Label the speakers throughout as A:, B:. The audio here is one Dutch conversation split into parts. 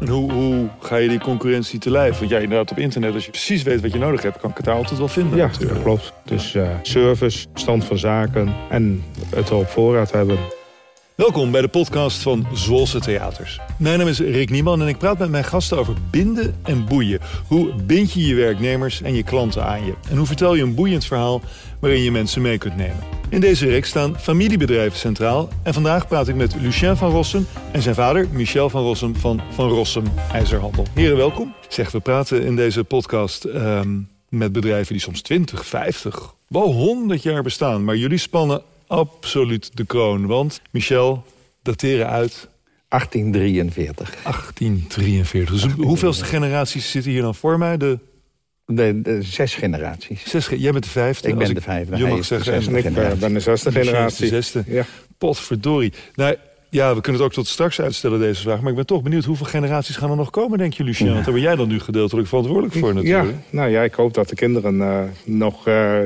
A: En Hoe, hoe ga je die concurrentie te lijf? Want jij inderdaad op internet, als je precies weet wat je nodig hebt, kan Qatar altijd wel vinden.
B: Ja,
A: natuurlijk.
B: dat klopt. Dus eh, service, stand van zaken en het op voorraad hebben.
A: Welkom bij de podcast van Zwolse Theaters. Mijn naam is Rick Nieman en ik praat met mijn gasten over binden en boeien. Hoe bind je je werknemers en je klanten aan je? En hoe vertel je een boeiend verhaal waarin je mensen mee kunt nemen? In deze reeks staan familiebedrijven centraal. En vandaag praat ik met Lucien van Rossum en zijn vader Michel van Rossum van Van Rossum IJzerhandel. Heren, welkom. Zeg, we praten in deze podcast ehm, met bedrijven die soms 20, 50, wel 100 jaar bestaan. Maar jullie spannen absoluut de kroon. Want, Michel, dateren uit
C: 1843.
A: 1843. Dus hoeveelste generaties zitten hier dan voor mij? De
C: De, de zes generaties.
A: zes, ge- jij bent de vijfde.
C: Ik
A: als
C: ben de vijfde.
A: Je
C: Hij
A: mag
C: is de
A: zeggen,
C: zesde.
B: En ik eh, ben de zesde
A: Michel is de
B: generatie.
A: zesde.
B: Ja.
A: Potverdorie. Nou, ja, we kunnen het ook tot straks uitstellen, deze vraag. Maar ik ben toch benieuwd hoeveel generaties gaan er nog komen, denk je, Lucien? Want daar ben jij dan nu gedeeltelijk verantwoordelijk voor,
B: Ja,
A: natuurlijk.
B: nou ja, ik hoop dat de kinderen eh, nog eh,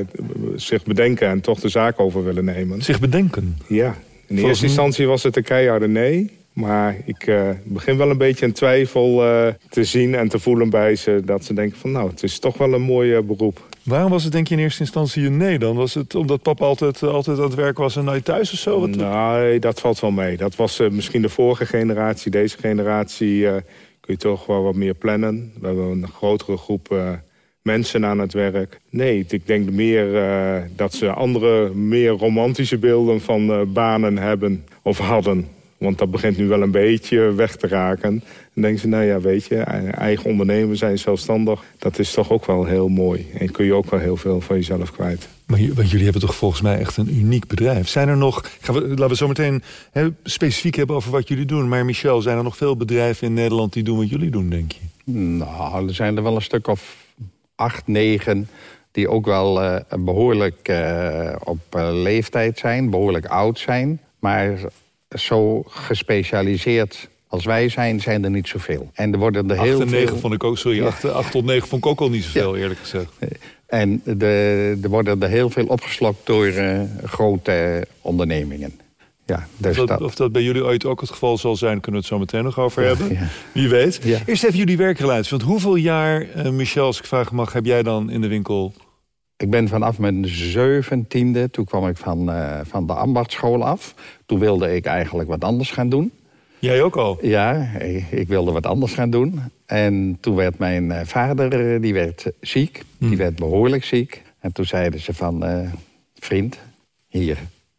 B: zich bedenken en toch de zaak over willen nemen.
A: Zich bedenken.
B: Ja, in de
A: Volgens
B: eerste
A: mij-
B: instantie was het een keiharde nee. Maar ik eh, begin wel een beetje een twijfel eh, te zien en te voelen bij ze. Dat ze denken van nou, het is toch wel een mooi eh, beroep.
A: Waarom was het denk je in eerste instantie een nee dan? Was het omdat papa altijd, eh, altijd aan het werk was en nou thuis of zo? Wat-
B: Nee, dat valt wel mee. Dat was eh, misschien de vorige generatie. Deze generatie eh, kun je toch wel wat meer plannen. We hebben een grotere groep eh, mensen aan het werk. Nee, ik denk meer eh, dat ze andere, meer romantische beelden van eh, banen hebben of hadden. Want dat begint nu wel een beetje weg te raken. En dan denken ze, nou ja, weet je, e- eigen ondernemer zijn, zelfstandig... dat is toch ook wel heel mooi. En kun je ook wel heel veel van jezelf kwijt.
A: Maar j- want jullie hebben toch volgens mij echt een uniek bedrijf. Zijn er nog, gaan we, laten we zo meteen hè, specifiek hebben over wat jullie doen. Maar Michel, zijn er nog veel bedrijven in Nederland die doen wat jullie doen, denk je?
C: Nou, er zijn er wel een stuk of acht, negen... die ook wel eh, behoorlijk eh, op eh, leeftijd zijn, behoorlijk oud zijn. Maar zo gespecialiseerd als wij zijn, zijn er niet zoveel. En er worden er
A: 8
C: heel
A: en 9
C: veel...
A: vond ik ook, sorry, 8, tot 9 vond ik ook al niet zoveel, eerlijk gezegd.
C: En de, er worden er heel veel opgeslokt door eh, grote ondernemingen. Ja, dus
A: Of dat,
C: dat...
A: of dat bij jullie ooit ook het geval zal zijn, kunnen we het zo meteen nog over hebben.
C: ja.
A: Wie weet.
C: Ja.
A: Eerst even jullie werkrelatie. Want hoeveel jaar, eh, Michel, als ik vragen mag, heb jij dan in de winkel?
C: Ik ben vanaf mijn zeventiende, toen kwam ik van, eh, van de ambachtschool af. Toen wilde ik eigenlijk wat anders gaan doen.
A: Jij ook al?
C: Ja, ik, ik wilde wat anders gaan doen. En toen werd mijn eh, vader, eh, die werd ziek. Die werd behoorlijk ziek. En toen zeiden ze van, eh, vriend, hier.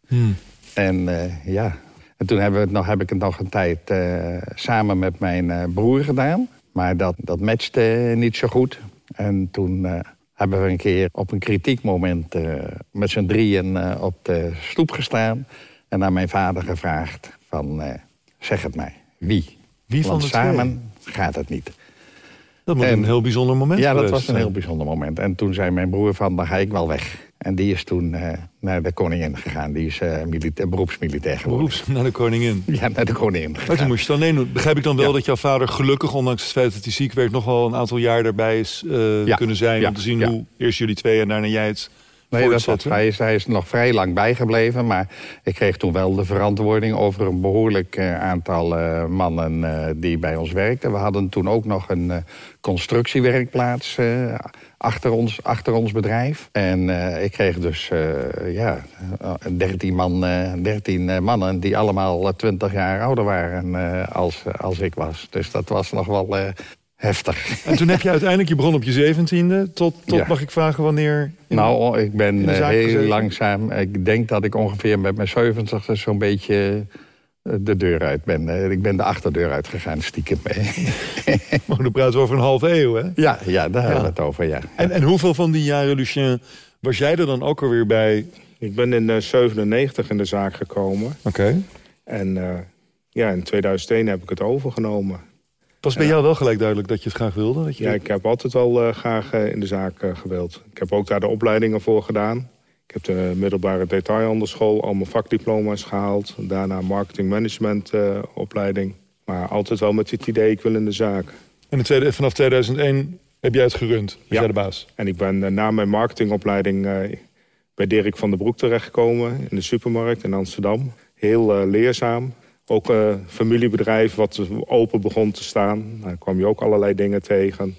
A: Hmm.
C: En eh, ja, en toen hebben we het nog, heb ik het nog een tijd eh, samen met mijn eh, broer gedaan. Maar dat, dat matchte niet zo goed. En toen eh, hebben we een keer op een kritiek moment eh, met z'n drieën eh, op de stoep gestaan. En aan mijn vader gevraagd van, eh, zeg het mij, wie?
A: Wie van
C: Want
A: de twee?
C: samen gaat het niet.
A: Dat moet
C: En-
A: een heel bijzonder moment
C: Ja, dat
A: geweest
C: was een
A: zijn.
C: heel bijzonder moment. En toen zei mijn broer van, dan ga ik wel weg. En die is toen eh, naar de koningin gegaan. Die is eh, milita- beroepsmilitair geworden.
A: Beroeps naar de koningin.
C: Ja, naar de koningin
A: Maar
C: gegaan.
A: toen moest je het alleen doen. Begrijp ik dan wel
C: Ja.
A: dat jouw vader gelukkig, ondanks het feit dat hij ziek werd... nog wel een aantal jaar daarbij is eh,
C: Ja.
A: kunnen zijn...
C: Ja.
A: om te zien
C: Ja.
A: hoe eerst jullie twee en daarna jij het
C: Nee, dat, dat,
A: voortzetten?
C: hij, is, hij is nog vrij lang bijgebleven, maar ik kreeg toen wel de verantwoording over een behoorlijk eh, aantal eh, mannen eh, die bij ons werkten. We hadden toen ook nog een eh, constructiewerkplaats eh, achter, ons, achter ons bedrijf. En eh, ik kreeg dus eh, ja, eh, 13, man, eh 13 eh, mannen die allemaal eh, 20 jaar ouder waren eh, als, als ik was. Dus dat was nog wel eh, heftig.
A: En toen heb je uiteindelijk, je begon op je zeventiende... tot, tot
C: Ja.
A: mag ik vragen wanneer...
C: Nou, ik ben
A: in de
C: eh,
A: zaak
C: heel
A: gezeten?
C: langzaam. Ik denk dat ik ongeveer met mijn 70 zo'n beetje eh, de deur uit ben. Eh, Ik ben de achterdeur uitgegaan, stiekem.
A: Maar Oh, dan praten we over een halve eeuw, hè?
C: ja, ja, daar hebben we het over, ja.
A: En, en hoeveel van die jaren, Lucien, was jij er dan ook alweer bij?
B: Ik ben in eh, 97 in de zaak gekomen.
A: Oké.
B: En eh, ja, in 2001 heb ik het overgenomen.
A: Was bij jou wel gelijk duidelijk dat je het graag wilde? Dat je
B: Ja,
A: dit-
B: ik heb altijd wel eh, graag eh, in de zaak eh, gewild. Ik heb ook daar de opleidingen voor gedaan. Ik heb de middelbare detailhandelschool, al mijn vakdiploma's gehaald. Daarna marketing management eh, opleiding. Maar altijd wel met het idee, ik wil in de zaak.
A: En in tweede, vanaf 2001 heb jij het gerund. Was
B: Ja.
A: jij de baas?
B: En ik ben eh, na mijn marketingopleiding eh, bij Dirk van den Broek terechtgekomen... in de supermarkt in Amsterdam. Heel eh, leerzaam. Ook een familiebedrijf wat open begon te staan. Daar kwam je ook allerlei dingen tegen.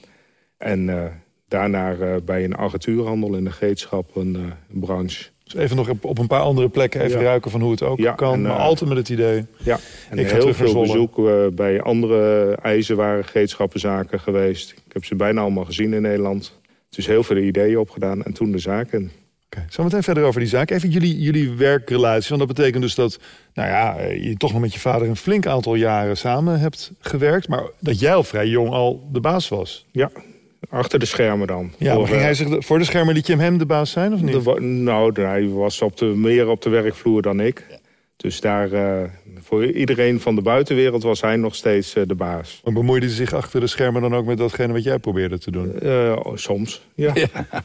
B: En eh, daarna eh, bij een armatuurhandel in de geetschap een eh, branche.
A: Dus even nog op, op een paar andere plekken even
B: Ja.
A: ruiken van hoe het ook
B: Ja,
A: kan.
B: en, eh,
A: maar altijd met het idee.
B: Ja, en
A: Ik ga
B: heel
A: terug naar
B: veel
A: Zwolle.
B: bezoek eh, bij andere ijzerwaren geetschappenzaken geweest. Ik heb ze bijna allemaal gezien in Nederland. Dus heel veel ideeën opgedaan en toen de zaken.
A: Oké, Zometeen verder over die zaak. Even jullie, jullie werkrelatie. Want dat betekent dus dat nou ja, eh, je toch nog met je vader een flink aantal jaren samen hebt gewerkt. Maar dat jij al vrij jong al de baas was.
B: Ja, achter de schermen dan.
A: Ja,
B: Voor,
A: maar ging
B: eh,
A: hij zich de- voor de schermen liet je hem hem de baas zijn of niet?
B: Er wa- nou, hij was op de, meer op de werkvloer dan ik. Dus daar, eh, voor iedereen van de buitenwereld was hij nog steeds eh, de baas.
A: Maar bemoeide hij zich achter de schermen dan ook met datgene wat jij probeerde te doen?
B: Eh, soms, ja.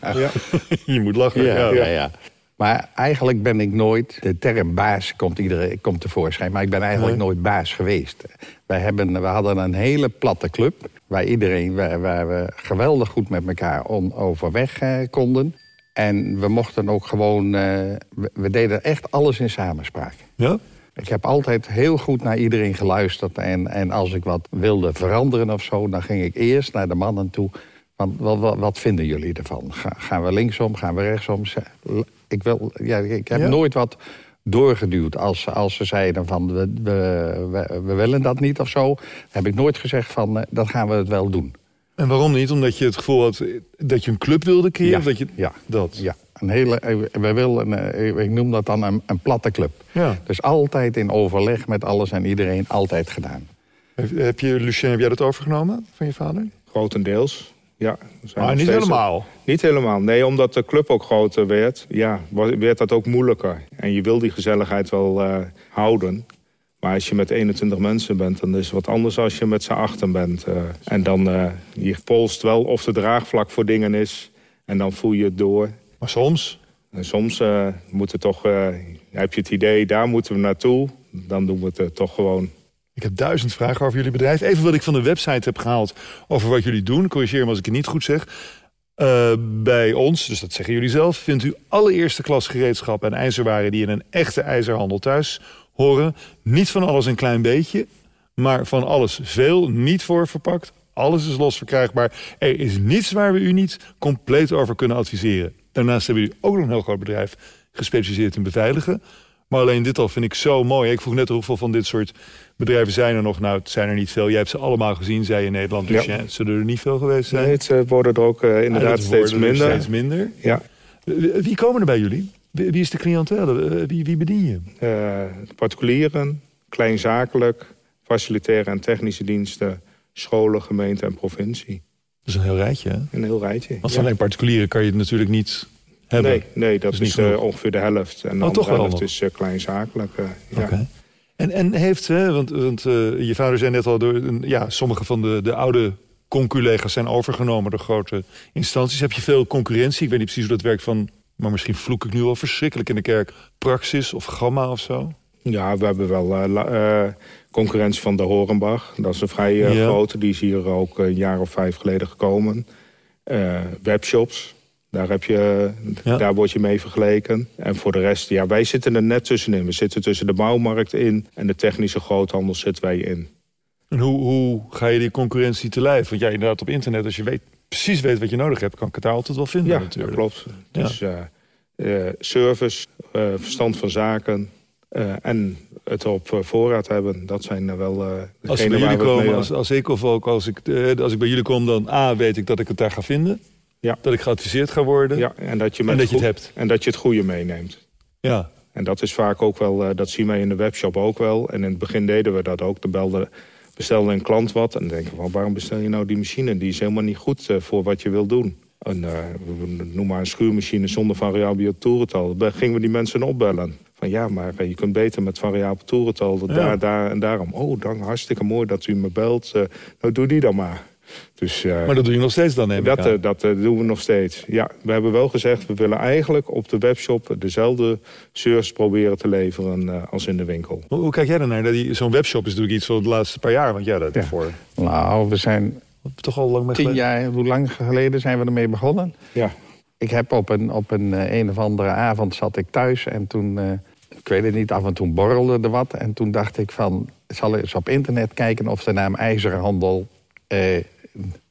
B: ja.
A: je moet lachen.
C: Ja,
A: Ja,
C: ja, ja. Maar eigenlijk ben ik nooit, de term baas komt, iedere, komt tevoorschijn, maar ik ben eigenlijk nooit baas geweest. Wij hebben, we hadden een hele platte club waar iedereen, waar, waar we geweldig goed met elkaar on, overweg eh, konden. En we mochten ook gewoon, eh, we, we deden echt alles in samenspraak.
A: Ja?
C: Ik heb altijd heel goed naar iedereen geluisterd. En, en als ik wat wilde veranderen of zo, dan ging ik eerst naar de mannen toe. Van, wat, wat, wat vinden jullie ervan? Ga- gaan we linksom, gaan we rechtsom? Ze- l- Ik, wil, ja, ik heb
A: Ja.
C: nooit wat doorgeduwd. Als, ze- als ze zeiden van, we, we, we, we willen dat niet of zo... heb ik nooit gezegd van, eh, dat gaan we het wel doen.
A: En waarom niet? Omdat je het gevoel had dat je een club wilde creëren?
C: Ja,
A: Of dat je,
C: ja.
A: Dat.
C: Ja, een hele, eh, we willen, eh, ik noem dat dan een, een platte club.
A: Ja.
C: Dus altijd in overleg met alles en iedereen, altijd gedaan.
A: Heb, heb je, Lucien, heb jij dat overgenomen van je vader?
B: Grotendeels, ja. We
A: Maar
B: zijn nog
A: Ah, niet
B: steeds-
A: helemaal.
B: Niet helemaal. Nee, omdat de club ook groter werd, ja, wa- werd dat ook moeilijker. En je wil die gezelligheid wel eh, houden. Maar als je met 21 mensen bent, dan is het wat anders als je met z'n achten bent. eh. en dan, eh je polst wel of de draagvlak voor dingen is. En dan voel je het door.
A: Maar soms.
B: En soms eh, moet het toch, eh, heb je het idee, daar moeten we naartoe. Dan doen we het eh, toch gewoon.
A: Ik heb duizend vragen over jullie bedrijf. Even wat ik van de website heb gehaald over wat jullie doen. Corrigeer me als ik het niet goed zeg. Eh, bij ons, dus dat zeggen jullie zelf, vindt u alle eerste klas gereedschap en ijzerwaren die in een echte ijzerhandel thuis horen. Niet van alles een klein beetje, maar van alles veel, niet voor verpakt. Alles is los verkrijgbaar. Er is niets waar we u niet compleet over kunnen adviseren. Daarnaast hebben jullie ook nog een heel groot bedrijf gespecialiseerd in beveiligen. Maar alleen dit al vind ik zo mooi. Ik vroeg net hoeveel van dit soort bedrijven zijn er nog. Nou, het zijn er niet veel. Jij hebt ze allemaal gezien, zei je in Nederland. Dus
B: Ja.
A: ja, het zullen er niet veel geweest zijn.
B: Nee, het eh, worden er ook eh, inderdaad
A: Ja, dat
B: steeds
A: worden er
B: minder.
A: Steeds minder.
B: Ja.
A: Eh, Wie komen er bij jullie? Wie wie is de cliëntele? Eh, Wie, wie bedien je?
B: eh, particulieren, kleinzakelijk, facilitaire en technische diensten, scholen, gemeente en provincie.
A: Dat is een heel rijtje, hè?
B: Een heel rijtje.
A: Want
B: ja.
A: van een particulieren kan je het natuurlijk niet hebben.
B: nee, nee, dat
A: is
B: is,
A: niet
B: eh,
A: genoeg.
B: ongeveer de helft. En de
A: Oh, toch
B: andere
A: wel
B: helft
A: nog.
B: is eh, kleinzakelijk. eh, ja.
A: Oké. En, en heeft, hè, want, want eh, je vader zei net al, door, een- ja, sommige van de, de oude conculega's zijn overgenomen door grote instanties. Heb je veel concurrentie? Ik weet niet precies hoe dat werkt van, maar misschien vloek ik nu wel verschrikkelijk in de kerk. Praxis of Gamma of zo?
B: Ja, we hebben wel eh, la- eh, concurrentie van de Horenbach. Dat is een vrij eh,
A: Ja.
B: grote. Die is hier ook een jaar of vijf geleden gekomen. Eh, webshops. Daar, heb je,
A: Ja.
B: daar word je mee vergeleken. En voor de rest, ja, wij zitten er net tussenin. We zitten tussen de bouwmarkt in en de technische groothandel zitten wij in.
A: En hoe, hoe ga je die concurrentie te lijf? Want ja, inderdaad, op internet, als je weet, precies weet wat je nodig hebt, kan ik het daar altijd wel vinden.
B: Ja, dat
A: natuurlijk.
B: klopt. Dus eh, eh, service, eh, verstand van zaken eh, en het op eh, voorraad hebben. Dat zijn er wel eh
A: Als ze bij
B: degene waar
A: jullie
B: we het mee-
A: komen, als, als ik of ook als ik, eh, als ik bij jullie kom, dan A, weet ik dat ik het daar ga vinden.
B: Ja.
A: Dat ik geadviseerd ga worden.
B: ja, en dat je, met
A: En dat je het
B: goed-
A: hebt.
B: En dat je het goede meeneemt.
A: Ja.
B: En dat is vaak ook wel, eh, dat zien wij in de webshop ook wel. En in het begin deden we dat ook. Dan belde, bestelde een klant wat en dan denken we, van, waarom bestel je nou die machine? Die is helemaal niet goed eh, voor wat je wil doen. Een, eh, noem maar een schuurmachine zonder variabel toerental. Dan gingen we die mensen opbellen. Van ja, maar eh, je kunt beter met variabel toerental. dat
A: Ja.
B: Daar, daar en daarom. Oh, dan hartstikke mooi dat u me belt. Eh, nou, doe die dan maar. Dus, eh,
A: Maar dat doe je nog steeds dan, neem ik
B: dat,
A: aan.
B: eh, dat eh, doen we nog steeds. Ja, we hebben wel gezegd, we willen eigenlijk op de webshop dezelfde service proberen te leveren eh, als in de winkel.
A: Hoe, hoe kijk jij daarnaar? Dat die- Zo'n webshop is natuurlijk iets van de laatste paar jaar. Want ja, dat
B: Ja.
A: voor
C: Nou, we zijn
A: toch al lang mee
C: tien
A: geleden.
C: jaar, hoe lang geleden zijn we ermee begonnen?
B: Ja,
C: Ik heb op een, op een, eh, een of andere avond zat ik thuis en toen eh, ik weet het niet, af en toe borrelde er wat. En toen dacht ik van, zal eens op internet kijken of de naam IJzerhandel eh,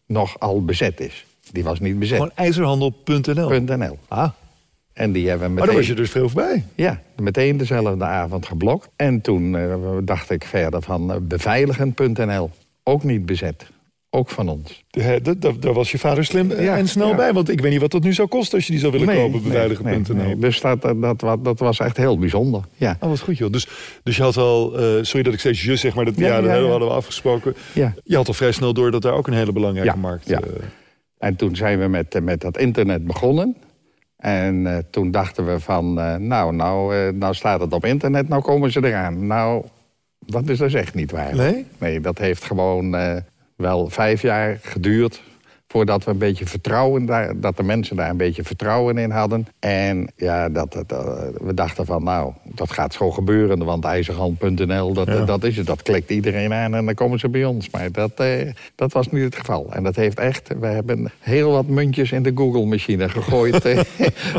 C: nog al bezet is. Die was niet bezet.
A: Gewoon ijzerhandel.nl.
C: .nl.
A: Ah,
C: En die hebben we
A: maar
C: meteen...
A: daar was je dus veel bij.
C: Ja, meteen dezelfde avond geblokt. En toen eh, dacht ik verder van eh, beveiligen.nl. Ook niet bezet. Ook van ons.
A: Hè, Eh, dat- dat- Daar was je vader slim eh,
C: Ja,
A: en snel
C: ja.
A: bij. Want ik weet niet wat dat nu zou kosten als je die zou willen
C: Nee,
A: kopen.
C: nee,
A: Beveiligen.nl.
C: nee, nee. Dus dat, dat, wa- dat was echt heel bijzonder. Ja.
A: Oh, wat goed joh. Dus, dus je had al, eh, sorry dat ik steeds je zeg, maar dat, ja,
C: Ja,
A: dat
C: ja,
A: hebben-
C: ja.
A: hadden we afgesproken.
C: Ja.
A: Je had al vrij snel door dat daar ook een hele belangrijke
C: Ja,
A: markt...
C: ja.
A: eh,
C: En toen zijn we met, eh, met dat internet begonnen. En eh, toen dachten we van, eh, nou, nou, eh, nou staat het op internet, nou komen ze eraan. Nou, dat is dus echt niet waar.
A: Nee?
C: Nee, dat heeft gewoon eh, wel vijf jaar geduurd voordat we een beetje vertrouwen daar, dat de mensen daar een beetje vertrouwen in hadden. En ja, dat, het, eh, we dachten van, nou, dat gaat zo gebeuren, want ijzerhand.nl, dat,
A: Ja.
C: dat is het. Dat klikt iedereen aan en dan komen ze bij ons. Maar dat, eh, dat was niet het geval. En dat heeft echt, we hebben heel wat muntjes in de Google-machine gegooid eh,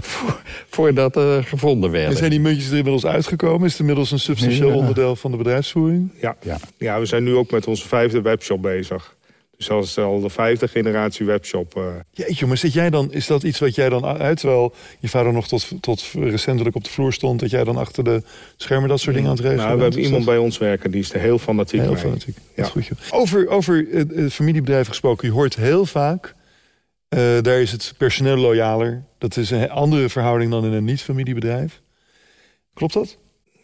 C: voor- voordat eh gevonden
A: En
C: werden.
A: zijn die muntjes er inmiddels uitgekomen? Is het inmiddels een substantieel
C: Ja.
A: onderdeel van de bedrijfsvoering?
B: Ja.
C: Ja.
B: Ja. we zijn nu ook met onze vijfde webshop bezig. Dus dat is al de vijfde generatie webshop. eh.
A: Jeetje, maar zit jij dan, is dat iets wat jij dan uit, terwijl je vader nog tot, tot recentelijk op de vloer stond, dat jij dan achter de schermen dat soort dingen aan het regelen
B: nou, we
A: bent?
B: hebben iemand bij ons werken die is er heel fanatiek
A: Heel
B: mee.
A: fanatiek.
B: Ja.
A: Dat is goed, joh. Over, over eh, eh, familiebedrijven gesproken, je hoort heel vaak, eh, daar is het personeel loyaler. Dat is een he- andere verhouding dan in een niet-familiebedrijf. Klopt dat?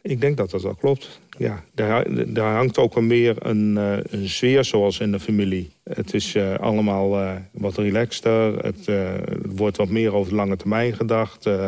B: Ik denk dat dat wel klopt. Ja, daar, daar hangt ook wel meer een, eh, een sfeer zoals in de familie. Het is eh, allemaal eh, wat relaxter. Het eh, het wordt wat meer over de lange termijn gedacht. Eh,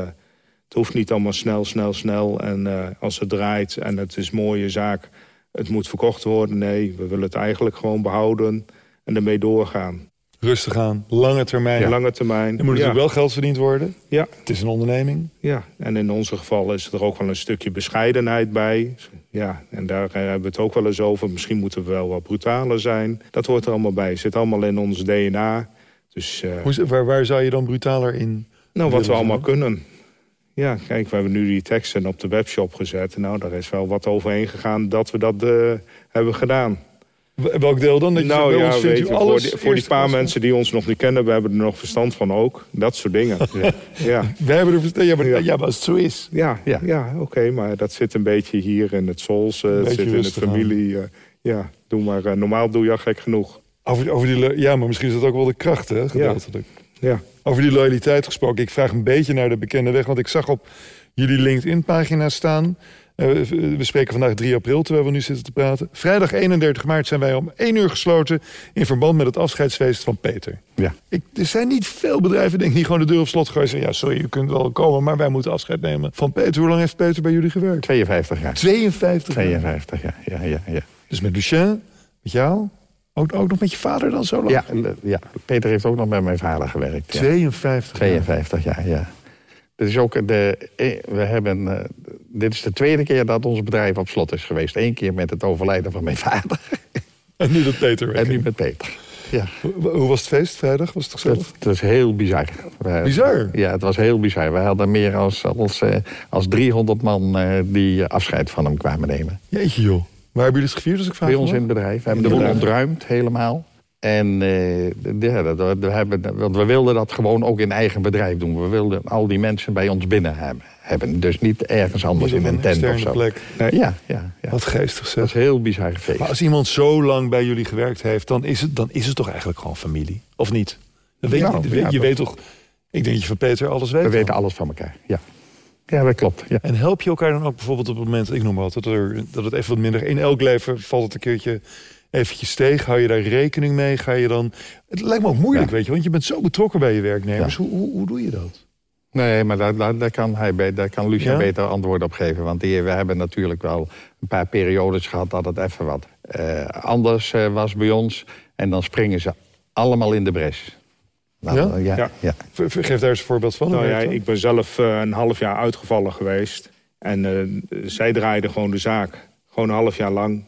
B: het hoeft niet allemaal snel, snel, snel. En eh, als het draait en het is een mooie zaak, het moet verkocht worden. Nee, we willen het eigenlijk gewoon behouden en ermee doorgaan.
A: Rustig aan, lange termijn.
B: Lange termijn.
A: Er moet
B: ja.
A: natuurlijk wel geld verdiend worden.
B: Ja.
A: Het is een onderneming.
B: Ja, en in onze geval is er ook wel een stukje bescheidenheid bij. Ja, en daar eh, hebben we het ook wel eens over. Misschien moeten we wel wat brutaler zijn. Dat hoort er allemaal bij. Zit allemaal in ons DNA. Dus eh,
A: Hoe, is- waar, waar zou je dan brutaler in?
B: nou, wat we
A: willen
B: allemaal
A: zijn?
B: kunnen. Ja, kijk, we hebben nu die teksten op de webshop gezet. Nou, daar is wel wat overheen gegaan dat we dat eh, hebben gedaan.
A: W- Welk deel dan? Dat je
B: nou
A: zegt, bij
B: ja,
A: ons vindt
B: weet
A: u
B: je,
A: alles
B: voor die, voor die
A: eerste
B: paar
A: klas.
B: mensen die ons nog niet kennen... we hebben er nog verstand van ook. Dat soort dingen. ja, ja,
A: We hebben er verstand. Ja, maar, ja.
B: Ja.
A: maar als het zo is.
B: Ja,
C: Ja.
B: ja. oké, maar dat zit een beetje hier in het Sols, eh, het
A: Beetje
B: zit in het
A: rustig aan.
B: familie. eh, ja, doe maar. eh, normaal doe je al gek genoeg.
A: Over, over die, lo- ja, maar misschien is dat ook wel de kracht, hè? Gedeeltelijk.
B: Ja,
A: Over die loyaliteit gesproken. Ik vraag een beetje naar de bekende weg. Want ik zag op jullie LinkedIn-pagina staan. eh, we we spreken vandaag 3 april, terwijl we nu zitten te praten. Vrijdag 31 maart zijn wij om 1 uur gesloten. in verband met het afscheidsfeest van Peter.
C: Ja.
A: Ik, er zijn niet veel bedrijven, denk ik, die gewoon de deur op slot gooien. en zeggen, Ja, sorry, u kunt wel komen, maar wij moeten afscheid nemen. Van Peter, hoe lang heeft Peter bij jullie gewerkt?
C: 52 jaar.
A: 52 jaar.
C: 52 jaar, ja, ja, ja.
A: Dus met Lucien, met jou, ook, ook nog met je vader dan zo lang?
C: Ja, en, eh, ja, Peter heeft ook nog bij mijn vader gewerkt. Ja.
A: 52 jaar.
C: 52 jaar, ja. Dit is ook de, eh, we hebben, eh, dit is de tweede keer dat ons bedrijf op slot is geweest. Eén keer met het overlijden van mijn vader
A: En nu dat Peter
C: en
A: weg.
C: nu met Peter. Ja,
A: Hoe hoe was het feest vrijdag? Was het
C: dat,
A: gezellig?
C: dat is heel bizar. We-
A: Bizar?
C: Ja, het was heel bizar. We hadden meer als, als, eh, als 300 man eh, die afscheid van hem kwamen nemen.
A: Jeetje joh. Waar hebben jullie het gevierd als ik vraag?
C: Bij ons
A: mag?
C: in het bedrijf. We hebben de
A: In
C: boel
A: het
C: ontruimd helemaal. En eh, ja, dat, we- we hebben, want we wilden dat gewoon ook in eigen bedrijf doen. We wilden al die mensen bij ons binnen hebben. hebben. Dus niet ergens anders
A: Niet op
C: in een tent of
A: externe
C: zo. Eh,
A: plek.
B: Nee.
C: Ja, ja, ja.
A: Wat geestig
C: Dat is
A: zeg.
C: een heel bizar feest.
A: Maar als iemand zo lang bij jullie gewerkt heeft, dan is het, dan is het toch eigenlijk gewoon familie? Of niet? Dat weet,
C: Ja,
A: je
C: ja,
A: je
C: dat-
A: weet toch... Ik denk dat je van Peter alles weet.
C: we
A: toch?
C: weten alles van elkaar. Ja, ja dat klopt. Ja.
A: En help je elkaar dan ook bijvoorbeeld op het moment, ik noem maar wat, dat, er, dat het even wat minder... In elk leven valt het een keertje eventjes tegen. Hou je daar rekening mee? Ga je dan... Het lijkt me ook moeilijk,
C: Ja.
A: weet je, want je bent zo betrokken bij je werknemers.
C: Ja.
A: Hoe, hoe, hoe doe je dat?
C: Nee, maar daar, daar, daar kan, hij be- daar kan Lucia
A: Ja?
C: beter antwoord op geven. Want die, we hebben natuurlijk wel een paar periodes gehad dat het even wat eh, anders eh, was bij ons. En dan springen ze allemaal in de bres. Nou,
A: Ja?
C: ja,
B: Ja.
C: ja.
A: Ver- ver- Geef daar eens een voorbeeld van.
B: nou
A: hoe
B: ja,
A: werkt dat?
B: ik ben zelf eh, een half jaar uitgevallen geweest. En eh, zij draaide gewoon de zaak. Gewoon een half jaar lang.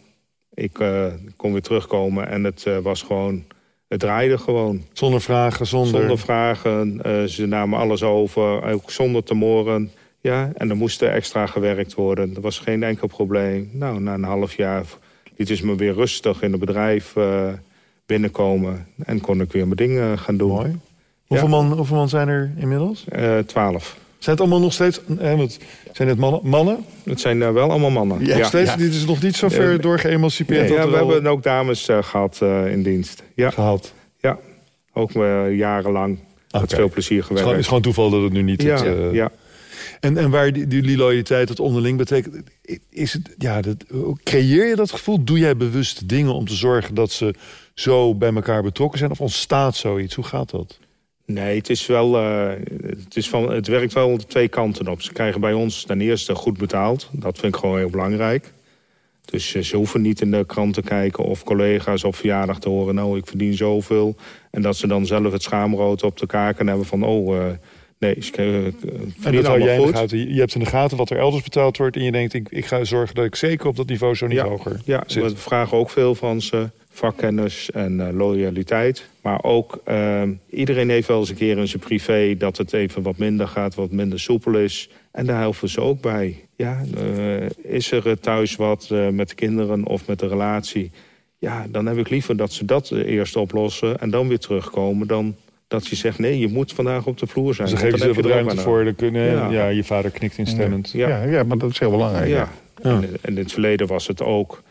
B: Ik eh, kon weer terugkomen en het eh, was gewoon... Het draaide gewoon.
A: Zonder vragen, zonder...
B: Zonder vragen. eh, ze namen alles over. Ook zonder te moren. Ja, en er moest er extra gewerkt worden. Er was geen enkel probleem. Nou, na een half jaar liet is me weer rustig in het bedrijf eh, binnenkomen. En kon ik weer mijn dingen gaan doen.
A: Mooi. Hoeveel, man, hoeveel man zijn er inmiddels?
B: Eh, Twaalf.
A: Zijn het allemaal nog steeds... Eh, want zijn het mannen? mannen?
B: Het zijn eh, wel allemaal mannen.
A: nog steeds,
C: ja.
A: Dit is nog niet zo ver
B: Eh,
A: doorgeëmancipeerd.
B: Nee,
A: dat
B: ja,
A: er
B: we
A: al
B: hebben ook dames eh, gehad eh, in dienst. Ja,
A: gehad.
B: ja. ook eh, jarenlang. Met
A: Oké.
B: veel plezier
A: Het is gewoon- is
B: gewerkt.
A: gewoon toeval dat het nu niet...
B: Ja,
A: het, eh,
B: ja.
A: En, en waar die, die loyaliteit het onderling betekent, is het, ja, dat, creëer je dat gevoel? Doe jij bewust dingen om te zorgen dat ze zo bij elkaar betrokken zijn? Of ontstaat zoiets? Hoe gaat dat?
B: Nee, het is wel. eh, het, is van, het werkt wel de twee kanten op. Ze krijgen bij ons ten eerste goed betaald. Dat vind ik gewoon heel belangrijk. Dus eh, ze hoeven niet in de krant te kijken of collega's op verjaardag te horen. Nou, ik verdien zoveel. En dat ze dan zelf het schaamrood op de kaken hebben van. Oh, eh, nee, ik eh, ik
A: En
B: verdien
A: dat hou jij
B: allemaal
A: in de
B: goed.
A: gaten. Je je hebt in de gaten wat er elders betaald wordt. En je denkt, ik, ik ga zorgen dat ik zeker op dat niveau zo niet hoger
B: Ja,
A: zit.
B: we vragen ook veel van ze. Vakkennis en eh, loyaliteit. Maar ook, eh, iedereen heeft wel eens een keer in zijn privé... dat het even wat minder gaat, wat minder soepel is. En daar helpen ze ook bij. Ja, eh, is er eh, thuis wat eh, met de kinderen of met de relatie? Ja, dan heb ik liever dat ze dat eh, eerst oplossen... en dan weer terugkomen dan dat je zegt... nee, je moet vandaag op de vloer zijn.
A: dus dan
B: want
A: geef je ze wat
B: heb er ook
A: ruimte
B: aan.
A: voor. Dan kunnen, ja.
B: Ja.
A: je vader knikt instemmend.
B: Ja.
C: Ja, ja, maar dat is heel belangrijk.
B: Ja.
A: Ja.
B: En, en in het verleden was het ook,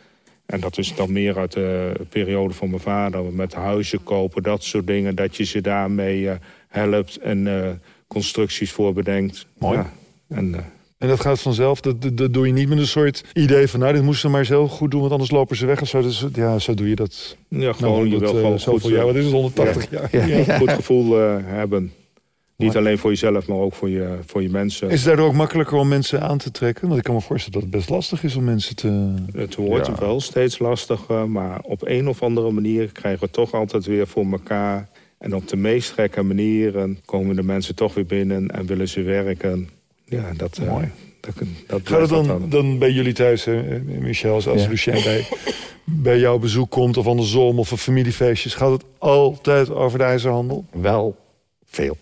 B: en dat is dan meer uit de periode van mijn vader, met huizen kopen, dat soort dingen, dat je ze daarmee eh, helpt en eh, constructies voor bedenkt.
A: Mooi.
B: Ja. En, eh,
A: En dat gaat vanzelf. Dat, dat, dat doe je niet met een soort idee van... nou, dit moesten we maar eens heel goed doen, want anders lopen ze weg. Of zo. Dus, ja, zo doe je dat.
B: ja, gewoon,
A: Nou,
B: je
A: honderd,
B: wil
A: eh,
B: gewoon goed,
A: zoveel jaar.
B: eh,
A: Wat is het, 180 jaar?
B: ja, goed gevoel eh, hebben. Niet
A: Mooi.
B: alleen voor jezelf, maar ook voor je, voor je mensen.
A: Is het daardoor ook makkelijker om mensen aan te trekken? Want ik kan me voorstellen dat het best lastig is om mensen te...
B: Het wordt
A: Ja.
B: wel steeds lastiger, maar op een of andere manier krijgen we het toch altijd weer voor elkaar. En op de meest gekke manieren komen de mensen toch weer binnen en willen ze werken. Ja, dat... eh,
A: Mooi.
B: dat, dat
A: Gaat het
B: blijft dat
A: dan, dan bij jullie thuis, hè, eh, Michel, als, als
C: Ja.
A: Lucien bij, bij jouw bezoek komt... of andersom, of een familiefeestjes... gaat het altijd over de ijzerhandel?
C: Wel veel.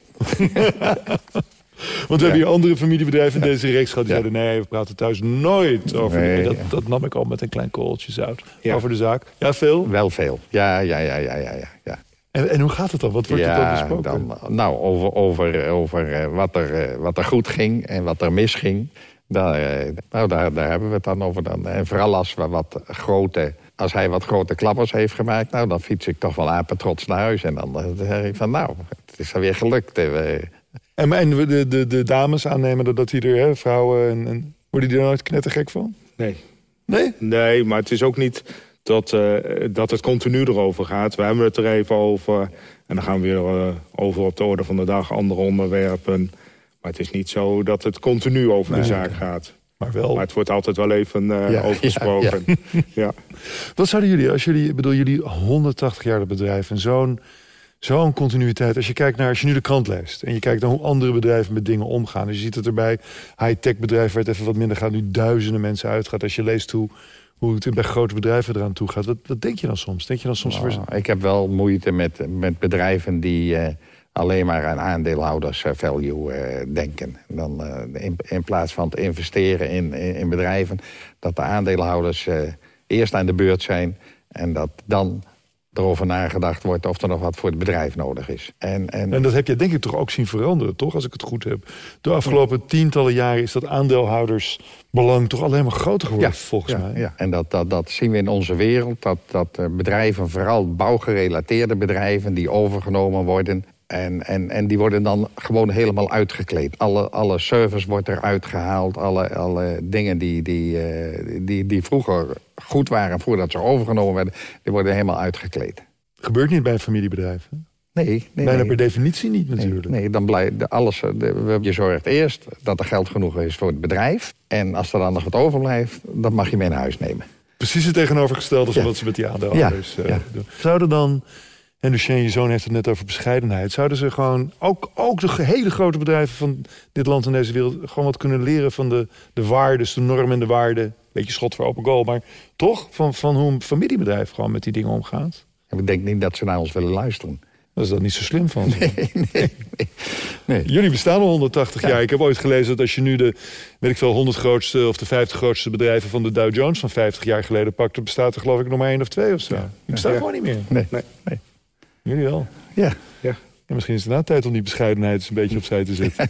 A: Want we hebben hier andere familiebedrijven in deze reeks gehad... die
C: Ja.
A: zeiden, nee, we praten thuis nooit over...
C: Nee,
A: dingen. dat,
C: ja.
A: dat nam ik al met een klein korreltje zout
B: Ja.
A: over de zaak. Ja, veel.
C: Wel veel. Ja, ja, ja, ja, ja, ja. ja.
A: En, en hoe gaat het dan? Wat wordt er dan
C: ja,
A: besproken?
C: dan, nou, over, over, over eh, wat, er, eh, wat er goed ging en wat er misging. Daar, eh, nou, daar, daar hebben we het dan over. Dan. En vooral als, we wat grote, als hij wat grote klappers heeft gemaakt... Nou, dan fiets ik toch wel apetrots naar huis. En dan eh, dan zeg ik van, nou, het is alweer gelukt. En we-
A: En, maar- en we de, de, de dames aannemen dat, dat die er, hè, vrouwen... En, en, worden die er nooit knettergek van?
B: Nee.
A: Nee?
B: nee, maar het is ook niet dat, eh, dat het continu erover gaat. We hebben het er even over en dan gaan we weer eh, over op de orde van de dag, andere onderwerpen. Maar het is niet zo dat het continu over de zaak gaat.
A: Maar wel.
B: Maar het wordt altijd wel even eh,
C: Ja,
B: over gesproken. ja.
A: Wat zouden jullie, als jullie, ik bedoel jullie 180 jaar dat bedrijf en zo'n zo'n continuïteit. Als je kijkt naar, als je nu de krant leest en je kijkt naar hoe andere bedrijven met dingen omgaan. Dus je ziet dat er bij high-tech bedrijven waar het even wat minder gaat, nu duizenden mensen uitgaat. Als je leest hoe, hoe het bij grote bedrijven eraan toe gaat, wat, wat denk je dan soms? Denk je dan soms,
C: Nou, ik heb wel moeite met, met bedrijven die eh, alleen maar aan aandeelhouders eh, value eh, denken. Dan, eh, in, in plaats van te investeren in, in, in bedrijven, dat de aandeelhouders eh, eerst aan de beurt zijn en dat dan erover nagedacht wordt of er nog wat voor het bedrijf nodig is. En, en,
A: en dat heb je denk ik toch ook zien veranderen, toch? Als ik het goed heb. De afgelopen tientallen jaren is dat aandeelhoudersbelang toch alleen maar groter geworden, volgens
C: ja,
A: mij.
C: ja. En dat, dat, dat zien we in onze wereld. Dat, dat eh, bedrijven, vooral bouwgerelateerde bedrijven, die overgenomen worden. En, en, en die worden dan gewoon helemaal uitgekleed. Alle, alle service wordt eruit gehaald. Alle, alle dingen die, die, eh, die, die vroeger goed waren voordat ze overgenomen werden, die worden helemaal uitgekleed.
A: Gebeurt niet bij een familiebedrijf. hè?
C: Nee, nee,
A: Bijna
C: nee.
A: per definitie niet natuurlijk.
C: Nee, dan blijft de- alles. eh, de- we- je zorgt eerst dat er geld genoeg is voor het bedrijf. En als er dan nog wat overblijft, dat mag je mee naar huis nemen.
A: Precies het tegenovergestelde van
C: Ja.
A: wat ze met die aandeelhouders
C: Ja,
A: eh,
C: ja.
A: doen. Zouden dan, en Lucien, je zoon heeft het net over bescheidenheid... zouden ze gewoon, ook, ook de ge- hele grote bedrijven van dit land en deze wereld... gewoon wat kunnen leren van de, de waarden, de normen en de waarden... beetje schot voor open goal, maar toch van, van hoe een familiebedrijf... gewoon met die dingen omgaat?
C: En ik denk niet dat ze naar ons willen luisteren.
A: Dat is dat niet zo slim van ze.
C: Nee, nee, nee. nee.
A: Jullie bestaan al 180
C: Ja.
A: jaar. Ik heb ooit gelezen dat als je nu de, weet ik veel, 100 grootste of de 50 grootste bedrijven van de Dow Jones van 50 jaar geleden pakt, dan bestaat er geloof ik nog maar één of twee of zo. Die bestaan
B: Ja.
A: gewoon niet meer.
C: Nee.
B: Nee.
C: nee.
A: Jullie wel.
C: Ja.
B: Ja.
A: En misschien is het na tijd om die bescheidenheid eens een beetje opzij te zetten.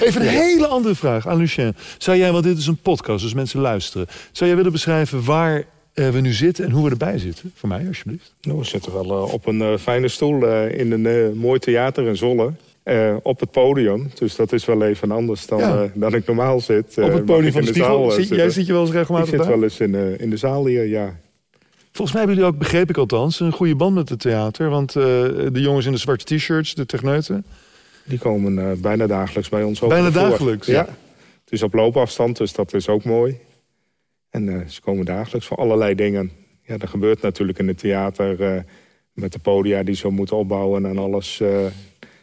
A: Even een hele andere vraag aan Lucien. Zou jij, want dit is een podcast, dus mensen luisteren. Zou jij willen beschrijven waar eh, we nu zitten en hoe we erbij zitten? Voor mij, alsjeblieft.
B: Nou, we zitten wel eh, op een eh, fijne stoel eh, in een eh, mooi theater in Zwolle. Eh, op het podium. Dus dat is wel even anders dan,
A: Ja.
B: eh, dan ik normaal zit. eh,
A: Op het
B: mag
A: podium
B: ik
A: van
B: in
A: de
B: zaal,
A: Spiegel.
B: eh,
A: Zie-
B: zitten.
A: jij zit je wel eens
B: Ik
A: regelmatig
B: zit
A: daar?
B: wel eens in, eh, in de zaal hier, ja.
A: Volgens mij hebben jullie ook, begreep ik althans, een goede band met het theater. Want eh, de jongens in de zwarte t-shirts, de techneuten.
B: Die komen eh, bijna dagelijks bij ons over.
A: Bijna
B: de vloer.
A: dagelijks?
B: Ja. Het is op loopafstand, dus dat is ook mooi. En eh, ze komen dagelijks voor allerlei dingen. Ja, dat gebeurt natuurlijk in het theater. eh, met de podia die ze moeten opbouwen en alles... eh,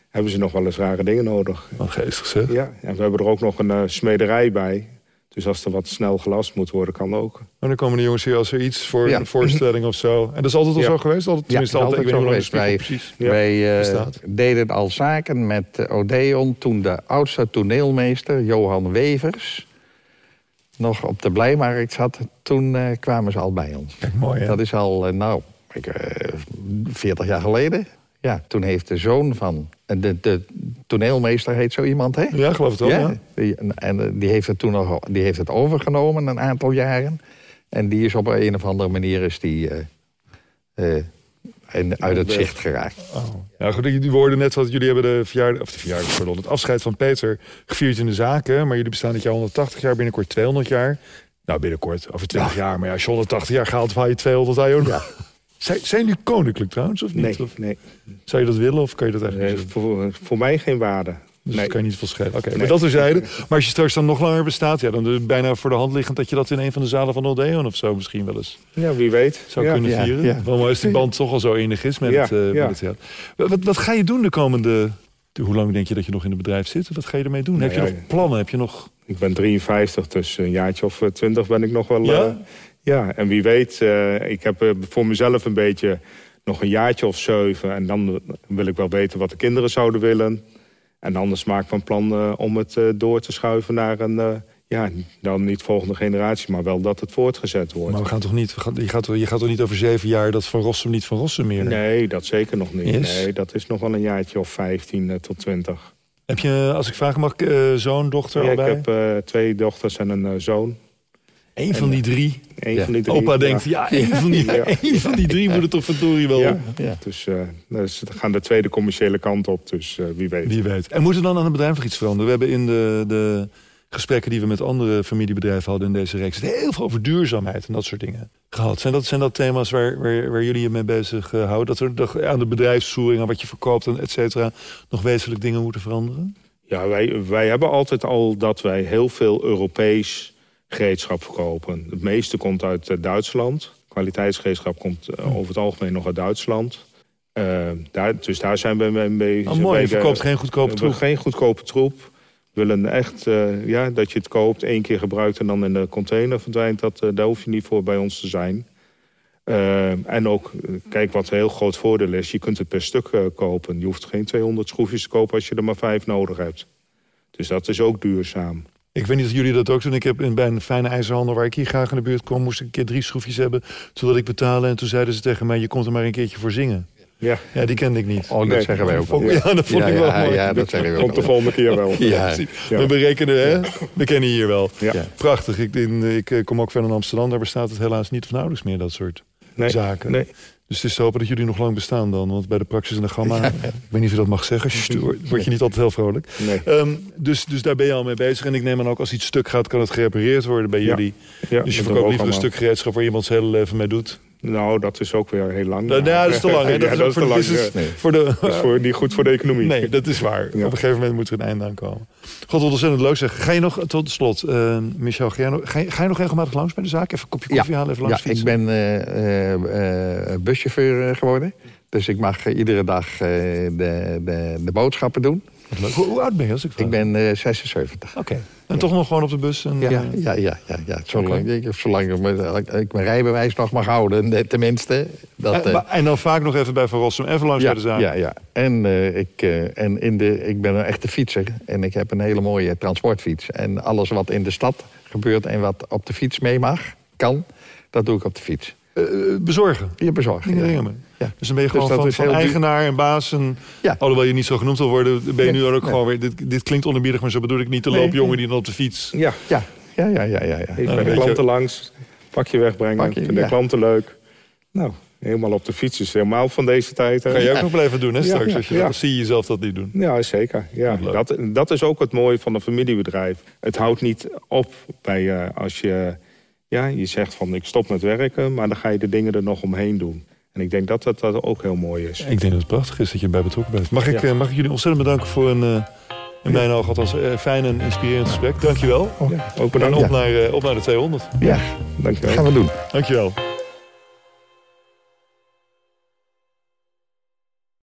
B: hebben ze nog wel eens rare dingen nodig.
A: Wat geestig zeg.
B: Ja, en we hebben er ook nog een eh, smederij bij. Dus als er wat snel gelast moet worden, kan ook.
A: En Oh, dan komen de jongens hier als er iets voor
C: Ja.
A: een voorstelling of zo. En dat is altijd al
B: Ja.
A: zo geweest? Altijd, tenminste,
C: is
A: altijd. Ik weet
C: altijd
A: niet hoe
C: zo
A: lang de
C: geweest.
A: Spiegel precies.
B: Ja,
C: Wij eh,
A: bestaat.
C: deden al zaken met eh, Odeon, toen de oudste toneelmeester, Johan Wevers, nog op de Blijmarkt zat. Toen eh, kwamen ze al bij ons.
A: Kijk, mooi hè?
C: Dat is al, eh, nou, ik, eh, 40 jaar geleden. Ja, toen heeft de zoon van, eh, de, de toneelmeester heet zo iemand, hè?
A: Ja, geloof het wel. Ja.
C: Die, en eh, die heeft het toen nog, die heeft het overgenomen een aantal jaren. En die is op een of andere manier is die, eh, eh, in, uit het zicht geraakt.
A: Oh. Ja, goed, die woorden net wat jullie hebben de verjaardag, of de verjaardag, pardon, het afscheid van Peter gevierd in de zaken. Maar jullie bestaan dit jaar 180 jaar, binnenkort 200 jaar. Nou, binnenkort, over 20 jaar. Maar ja, als je 180 jaar gehaald, haal je 200 jaar ook. nog. Zijn, zijn jullie koninklijk trouwens, of niet?
B: Nee,
A: Of
B: nee.
A: zou je dat willen, of kan je dat eigenlijk
B: Eh,
A: niet? zeggen?
B: voor, voor mij geen waarde.
A: Dus
B: nee.
A: dat kan je niet verschillen. Oké, maar
B: Nee.
A: dat terzijde. Maar als je straks dan nog langer bestaat, ja, dan is het bijna voor de hand liggend dat je dat in een van de zalen van Odeon of zo misschien wel eens
B: Ja, wie weet.
A: zou
B: Ja.
A: kunnen
C: ja,
A: vieren.
C: ja.
A: Wel mooi als die band toch al zo enig is met
B: Ja,
A: het, eh, met
B: ja.
A: het theater. Wat, wat ga je doen de komende... Hoe lang denk je dat je nog in het bedrijf zit? Wat ga je ermee doen?
B: Nou
A: Heb je
B: ja,
A: nog plannen? Heb je nog...
B: Ik ben 53, dus een jaartje of eh, 20 ben ik nog wel...
A: Ja?
B: eh, ja, en wie weet. eh, ik heb eh, voor mezelf een beetje nog een jaartje of zeven. En dan wil ik wel weten wat de kinderen zouden willen. En anders maak ik van plan eh, om het eh, door te schuiven naar een... eh, ja, dan niet volgende generatie, maar wel dat het voortgezet wordt.
A: Maar we gaan toch niet... We gaan, je, gaat, toch- je gaat toch niet over zeven jaar dat Van Rossum niet Van Rossum meer?
B: Nee, dat zeker nog niet.
A: Yes.
B: Nee, dat is nog wel een jaartje of 15 eh, tot 20.
A: Heb je, als ik vragen mag, eh, zoon, dochter
B: Ja, ik
A: allebei?
B: heb eh, twee dochters en een eh, zoon.
A: Eén van die drie.
B: Eén
C: Ja.
B: van die drie.
A: Opa
B: ja.
A: denkt, ja, één van die,
B: Ja.
A: één van die drie moet het toch verdorie wel...
B: Ja.
C: Ja.
B: Dus eh dus we gaan de tweede commerciële kant op, dus eh, wie weet.
A: Wie weet. En moet er dan aan het bedrijf nog iets veranderen? We hebben in de, de gesprekken die we met andere familiebedrijven hadden in deze reeks... het heel veel over duurzaamheid en dat soort dingen gehad. Zijn dat, zijn dat thema's waar, waar, waar jullie je mee bezig eh, houden? Dat er nog aan de bedrijfsvoering, aan wat je verkoopt en et cetera... nog wezenlijk dingen moeten veranderen?
B: Ja, wij, wij hebben altijd al dat wij heel veel Europees gereedschap verkopen. Het meeste komt uit eh, Duitsland. Kwaliteitsgereedschap komt eh,
A: Hm.
B: over het algemeen nog uit Duitsland. Eh, daar, dus daar zijn we mee bezig.
A: Oh, mooi, je
B: Wij,
A: verkoopt
B: eh,
A: geen goedkope
B: we hebben
A: troep.
B: geen goedkope troep. We willen echt eh, ja, dat je het koopt, één keer gebruikt en dan in de container verdwijnt. Dat, eh, daar hoef je niet voor bij ons te zijn. Eh, en ook, eh, kijk wat een heel groot voordeel is. Je kunt het per stuk eh, kopen. Je hoeft geen 200 schroefjes te kopen als je er maar vijf nodig hebt. Dus dat is ook duurzaam.
A: Ik weet niet of jullie dat ook doen. Ik heb in, bij een fijne ijzerhandel waar ik hier graag in de buurt kom... moest ik een keer drie schroefjes hebben. Toen wilde ik betalen en toen zeiden ze tegen mij... je komt er maar een keertje voor zingen.
B: Ja,
A: Ja, die kende ik niet.
C: Oh, dat
B: Nee,
C: zeggen wij ook wel.
A: Ja, dat vond ik
C: ja,
A: wel
C: ja,
A: mooi.
C: Ja, dat zeggen wij ook
B: komt de
C: wel.
B: volgende keer wel.
C: Ja,
A: We berekenen, hè? We kennen hier wel.
B: Ja.
C: Ja.
A: Prachtig. Ik, in, ik eh, kom ook verder in Amsterdam. Daar bestaat het helaas niet of nauwelijks meer, dat soort
B: Nee,
A: zaken.
B: nee.
A: Dus het is te hopen dat jullie nog lang bestaan dan. Want bij de Praxis en de Gamma, ik weet niet of je dat mag zeggen. sst, word- Word je niet altijd heel vrolijk.
B: Nee.
A: Ehm, dus, dus daar ben je al mee bezig. En ik neem aan ook als iets stuk gaat, kan het gerepareerd worden bij
B: Ja.
A: jullie.
B: Ja,
A: dus je
B: dat
A: verkoopt
B: ook
A: liever een
B: allemaal.
A: stuk gereedschap waar iemand zijn hele leven mee doet.
B: Nou, dat is ook weer heel lang.
A: Nou, ja, dat is te lang. Hè? Dat
B: Ja,
A: is ook voor de
B: te lang,
A: business.
B: ja.
A: Voor de,
B: Dat is voor, niet goed voor de economie.
A: Nee, dat is waar.
B: Ja.
A: Op een gegeven moment moet er een einde aan komen. God, wat ontzettend leuk zeg. Ga je nog, tot slot, eh, Michel, ga je, nog, ga, je, ga je nog regelmatig langs bij de zaak? Even een kopje koffie halen, even
C: ja
A: langs
C: ik
A: fietsen?
C: ben eh, eh, eh, buschauffeur eh, geworden. Dus ik mag eh, iedere dag eh, de, de, de boodschappen doen.
A: Wat leuk. Hoe, hoe oud ben je als ik vraag?
C: Ik ben eh, 76.
A: Oké. En toch nog gewoon op de bus? En,
C: Ja,
A: eh,
C: ja, ja, ja, ja. Zolang,
A: Oké.
C: ik, zolang ik, mijn, ik mijn rijbewijs nog mag houden, net- tenminste. Dat,
A: en,
C: eh,
A: maar- en dan vaak nog even bij Van Rossum, even langs
C: ja,
A: bij de zaak.
C: ja, ja. En, eh, ik, eh, en in de, ik ben een echte fietser en ik heb een hele mooie transportfiets. En alles wat in de stad gebeurt en wat op de fiets mee mag, kan, dat doe ik op de fiets.
A: Eh, eh, bezorgen.
C: Je bezorgen.
A: Dingen
C: ja.
A: dingen mee.
C: Ja.
A: Dus dan ben je gewoon
C: Dus dat
A: van,
C: is
A: van
C: heel duur.
A: eigenaar en baas. En,
C: Ja.
A: Alhoewel je niet zo genoemd wil worden, ben je nu
C: Nee,
A: ook
C: nee.
A: gewoon weer... Dit, dit klinkt onerbiedig, maar zo bedoel ik niet de
C: Nee,
A: loopjongen die dan op de fiets...
B: Ja,
C: Ja, ja, ja, ja, ja. ja.
B: ik
A: Nou,
B: bij de
A: weet je-
B: klanten langs, pakje wegbrengen,
C: Pakje,
B: vinden
C: ja.
B: de klanten leuk. Nou, helemaal op de fiets is helemaal van deze tijd. hè.
A: Ga je ook nog blijven doen, hè,
B: Ja,
A: straks?
B: ja,
A: als je,
B: ja.
A: Of zie je jezelf dat niet doen?
B: Ja, zeker. Ja,
A: Leuk.
B: dat, dat is ook het mooie van een familiebedrijf. Het houdt niet op bij eh, als je, ja, je zegt van ik stop met werken, maar dan ga je de dingen er nog omheen doen. En ik denk dat dat, dat ook heel mooi is.
A: Ik denk dat het prachtig is dat je bij betrokken bent. Mag ik,
B: Ja.
A: eh, mag ik jullie ontzettend bedanken voor een, eh, in mijn ogen althans, eh, fijn en inspirerend gesprek. Dankjewel.
B: Ja, ook
A: En
B: bedankt.
A: op naar, eh, op naar de 200.
C: Ja,
B: Dank je
C: dat
B: wel.
C: gaan we doen.
A: Dankjewel.